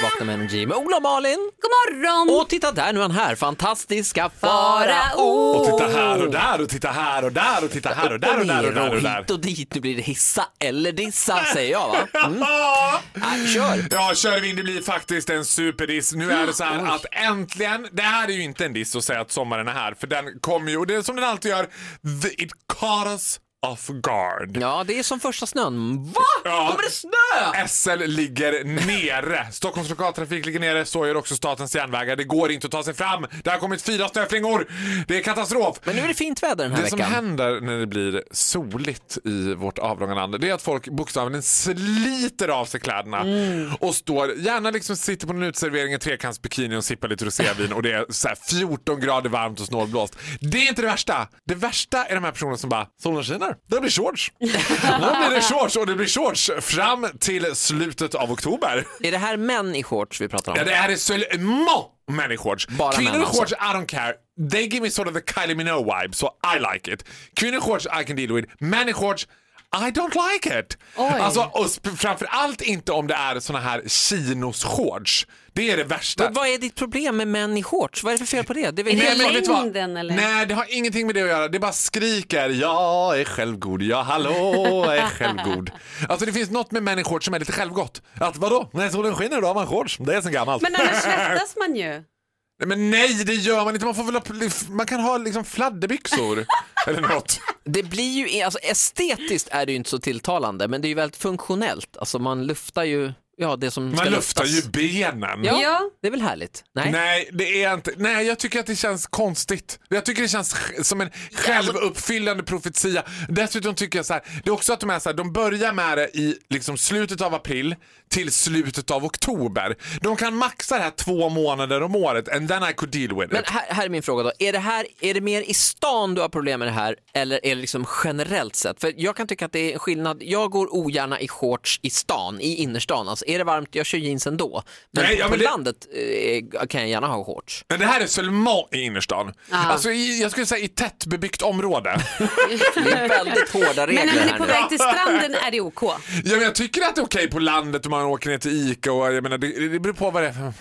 Platinum Energy med Ola och Malin. God morgon! Och titta där, nu är han här. Fantastiska Farao. Farao. Och titta här och där och titta här och där och titta här och där och där och där och där. hit och dit. Nu blir det hissa eller dissa säger jag va? Mm. Äh, kör! Ja, kör vi in. Det blir faktiskt en superdiss. Nu är det så här att äntligen, det här är ju inte en diss att säga att sommaren är här, för den kommer ju, och det är som den alltid gör, the, it caught us off guard. Ja, det är som första snön. Va? Ja. Kommer det snö? SL ligger nere. Stockholms lokaltrafik ligger nere, så gör också Statens järnvägar. Det går inte att ta sig fram. Det har kommit fyra snöflingor. Det är katastrof. Men nu är det fint väder den här Det som veckan. händer när det blir soligt i vårt avlånga land det är att folk bokstavligen sliter av sig kläderna Mm. och står, gärna liksom sitter på en uteservering i trekantsbikini och sippar lite rosévin och det är så här 14 grader varmt och snålblåst. Det är inte det värsta. Det värsta är de här personerna som bara, solen skiner, det blir shorts. Nu blir det shorts och det blir shorts fram till slutet av oktober. Är det här män i shorts vi pratar om? Ja, det här är seulement män i shorts. Bara Kvinnor män i alltså. shorts, I don't care. They give me sort of the Kylie Minogue vibe, so I like it. Kvinnor i shorts, I can deal with. Män i shorts, I don't like it. Oj. Alltså, och sp- framförallt inte om det är såna här chinos-shorts. Det är det värsta. Vad är ditt problem med män i shorts? Vad är det för fel på det? Det är väl Är helt det vet du vad? längden, eller? Nej, det har ingenting med det att göra. Det bara skriker jag är självgod, ja hallå, jag är självgod. Alltså det finns något med män i shorts som är lite självgott. Att vadå, när solen skiner då har man shorts. Det är så gammalt. Men annars svettas man ju. Nej, men nej, det gör man inte. Man, får väl ha, man kan ha liksom fladderbyxor eller något. Det blir ju, alltså estetiskt är det ju inte så tilltalande, men det är ju väldigt funktionellt. Alltså man luftar ju, ja det som ska Man luftar ju luftas. benen. Ja, Ja. det är väl härligt? Nej. Nej, det är inte. Nej, jag tycker att det känns konstigt. Jag tycker det känns sj- som en självuppfyllande profetia. Dessutom tycker jag så här, det är också att de är så här, de börjar med det i liksom slutet av april till slutet av oktober. De kan maxa det här två månader om året and then I could deal with Men it. här, här är min fråga då, är det, här, är det mer i stan du har problem med det här eller är det liksom generellt sett? För jag kan tycka att det är en skillnad, jag går ogärna i shorts i stan, i innerstan. Alltså är det varmt, jag kör jeans ändå. Men Nej, på ja, men det- landet eh, kan jag gärna ha shorts. Men det här är Seulement i innerstan. Alltså i, jag skulle säga i tättbebyggt område. Det är väldigt hårda regler Men när man är här på nu. väg till stranden är det OK. Ja, men jag tycker att det är okej på landet om man åker ner till Ica och jag menar, det, det beror på vad det är för,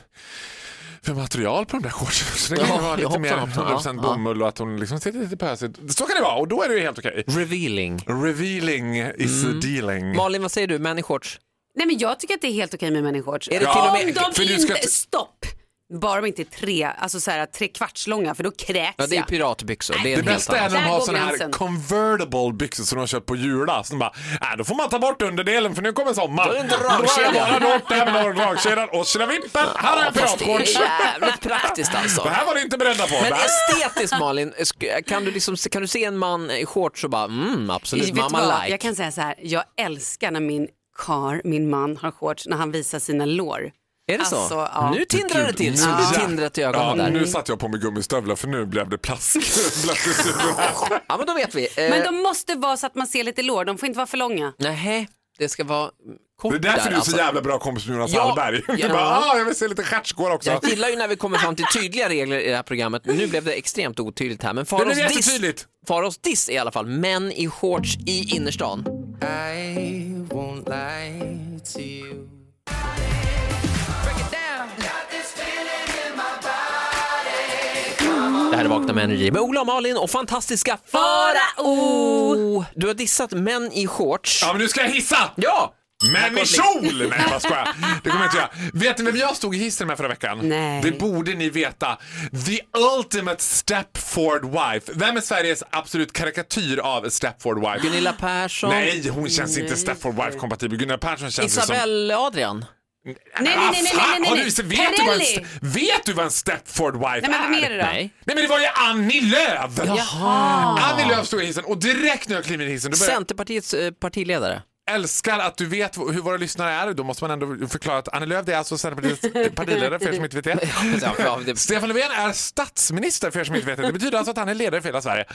för material på de där shortsen. Så Det kan Ja, vara lite hoppsan, mer hoppsan, 100% ja, bomull och att hon liksom sitter lite pösigt. Så kan det vara och då är det ju helt okej. Revealing. Revealing is dealing. Mm. Malin, vad säger du, män i shorts? Nej men jag tycker att det är helt okej med människor. Är det till och med- Om de för du inte, ska- stopp! Bara de inte är tre, alltså så här, tre kvarts långa för då kräks Ja, det är jag. piratbyxor. Det är Det en helt bästa är annan. när de Där har går såna här gränsen. convertible byxor som de har köpt på Jula. Så de bara, äh, då får man ta bort underdelen för nu kommer sommaren. Då är det en Då har jag dragkedja. bara dragit det här med dragkedjan och tjolavippen, här har jag Fast det är piratshorts. jävligt praktiskt alltså. Det här var ni inte beredda på. Men Det här- estetiskt Malin, sk- kan du, liksom, kan du se en man i shorts och bara mm, absolut, Vet du mamma vad? like. Jag kan säga så här, jag älskar när min kar, min man, har shorts när han visar sina lår. Är det så? Alltså, ja. Nu tindrar det till, så Nu- det tindrat i ögonen ja, där. Nu satt jag på mig gummistövlar för nu blev det plask. plask i studion. Ja men då vet vi. Eh, Men de måste vara så att man ser lite lår, de får inte vara för långa. nähä, det ska vara kort det är därför där alltså. du är så jävla bra kompis med Jonas Ja, Hallberg. Du ja. bara, ah, jag vill se lite stjärtskår också. Jag gillar ju när vi kommer fram till tydliga regler i det här programmet. Nu blev det extremt otydligt här men Det Faraos blev diss, jättetydligt. Faraos diss är i alla fall män i shorts i innerstan. I won't lie to you. Det här är Vakna med Energy med Ola och Malin och fantastiska Farao. Oh, Du har dissat män i shorts. Ja, men nu ska jag hissa! Ja! Men i kjol! Nej, jag bara skojar. Det kommer jag inte göra. Vet ni vem jag stod i hissen med förra veckan? Nej. Det borde ni veta. The ultimate Stepford wife. Vem är Sveriges absolut karikatyr av Stepford wife? Gunilla Persson, Nej, hon känns inte Stepford wife-kompatibel. Gunilla Persson känns ju som... Isabelle Adrian. Nej, nej, nej, nej, nej, nej, Har nej. du, vet, du vad en, Perrelli. vet du vad en Stepford wife Nej men vem är det då? Nej. Nej men det var ju Annie Lööf! Jaha. Annie Lööf stod i hissen och direkt när jag klev in i hissen, då började Centerpartiets eh, partiledare. jag älskar att du vet v- hur våra lyssnare är. Då måste man ändå förklara att Annie Lööf det är alltså Centerpartiets eh, partiledare för er som inte vet det. Ja, ja, det- Stefan Löfven är statsminister för er som inte vet det. Det betyder alltså att han är ledare för hela Sverige.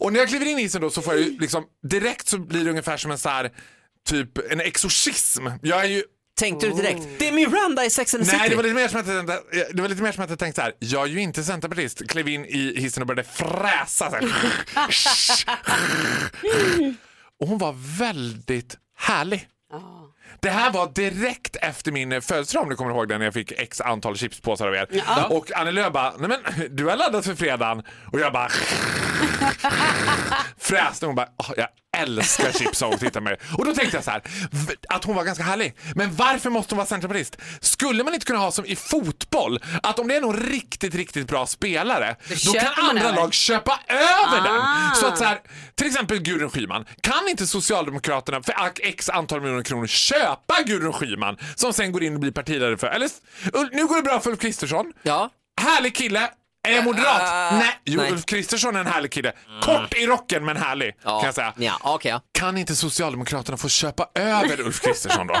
Och när jag kliver in i hissen då så får jag ju liksom direkt så blir det ungefär som en så här typ en exorcism. Jag är ju Tänkte du direkt, det är Miranda i Sex and the Nej, City. det var lite mer som att jag tänkte, eh, det var lite mer som att jag tänkte så här. Jag är ju inte centerpartist. Klev in i hissen och började fräsa. Så här. och hon var väldigt härlig. Ja. Det här var direkt efter min födelsedag om du kommer ihåg den när jag fick x antal chipspåsar av er. Och Annie Lööf bara, nej men du har laddat för fredagen. Och jag bara fräste hon bara, "Ah, jag älskar chips sa hon tittade på mig. Och då tänkte jag så här, v- att hon var ganska härlig. Men varför måste hon vara centerpartist? Skulle man inte kunna ha som i fotboll, att om det är någon riktigt, riktigt bra spelare, då köper kan man andra över. lag köpa över Ah. den. Så att så här, till exempel Gudrun Schyman, kan inte Socialdemokraterna för x antal miljoner kronor köpa Gudrun Schyman som sen går in och blir partiledare för, eller Ul- nu går det bra för Ulf Kristersson. Ja. Härlig kille. Är jag moderat? Ah, nej. Jo, nej. Mm. Ulf Kristersson är en härlig kille. Kort i rocken men härlig. Ja, Kan jag säga. Ja, okej, ja. Kan inte Socialdemokraterna få köpa över Ulf Kristersson då?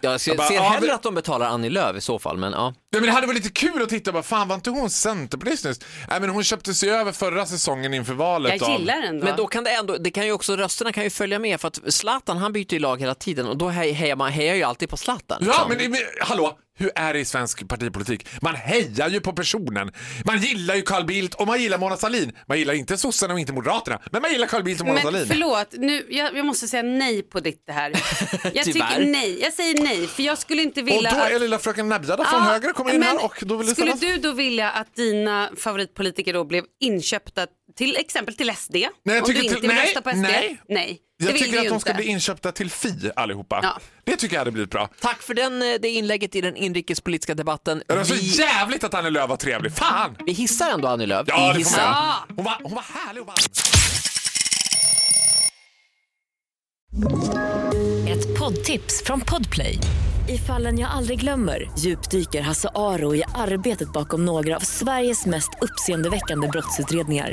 Jag ser, Jag bara, ser ja, hellre vi- att de betalar Annie Lööf i så fall, men ja. Ja, men det hade varit lite kul att titta. Bara, fan, var inte hon centerpartist nyss? Nej, men hon köpte sig över förra säsongen inför valet. Jag gillar den Men då kan det ändå, det kan ju också, rösterna kan ju följa med för att Zlatan han byter ju lag hela tiden och då hej- hejar man hejar ju alltid på Zlatan. Ja, liksom. men, men hallå, hur är det i svensk partipolitik? Man hejar ju på personen. Man gillar ju Carl Bildt och man gillar Mona Sahlin. Man gillar inte sossarna och inte moderaterna, men man gillar Carl Bildt och Mona Men Sahlin. förlåt, nu, jag, jag måste säga nej på ditt det här. Tyvärr. Jag tycker nej, jag säger nej för jag skulle inte Och vilja då är att... lilla fröken Nabjada från Ja, höger kommer in men här och då vill det Skulle ställas- du då vilja att dina favoritpolitiker då blev inköpta till exempel till SD? Nej, jag Om tycker du inte till- vill nej, rösta på SD? nej. nej. Det Jag vill tycker du att ju de ska inte. bli inköpta till Fi allihopa. Ja. Det tycker jag hade blivit bra. Tack för den, eh, det inlägget i den inrikespolitiska debatten. Det var så Vi, jävligt att Annie Lööf var trevlig. Fan! vi hissar ändå Annie Lööf. Ja, Vi det får hissar. man göra. Ja. hon var, hon var härlig och varm. Ett poddtips från Podplay. I fallen jag aldrig glömmer djupdyker Hasse Aro i arbetet bakom några av Sveriges mest uppseendeväckande brottsutredningar.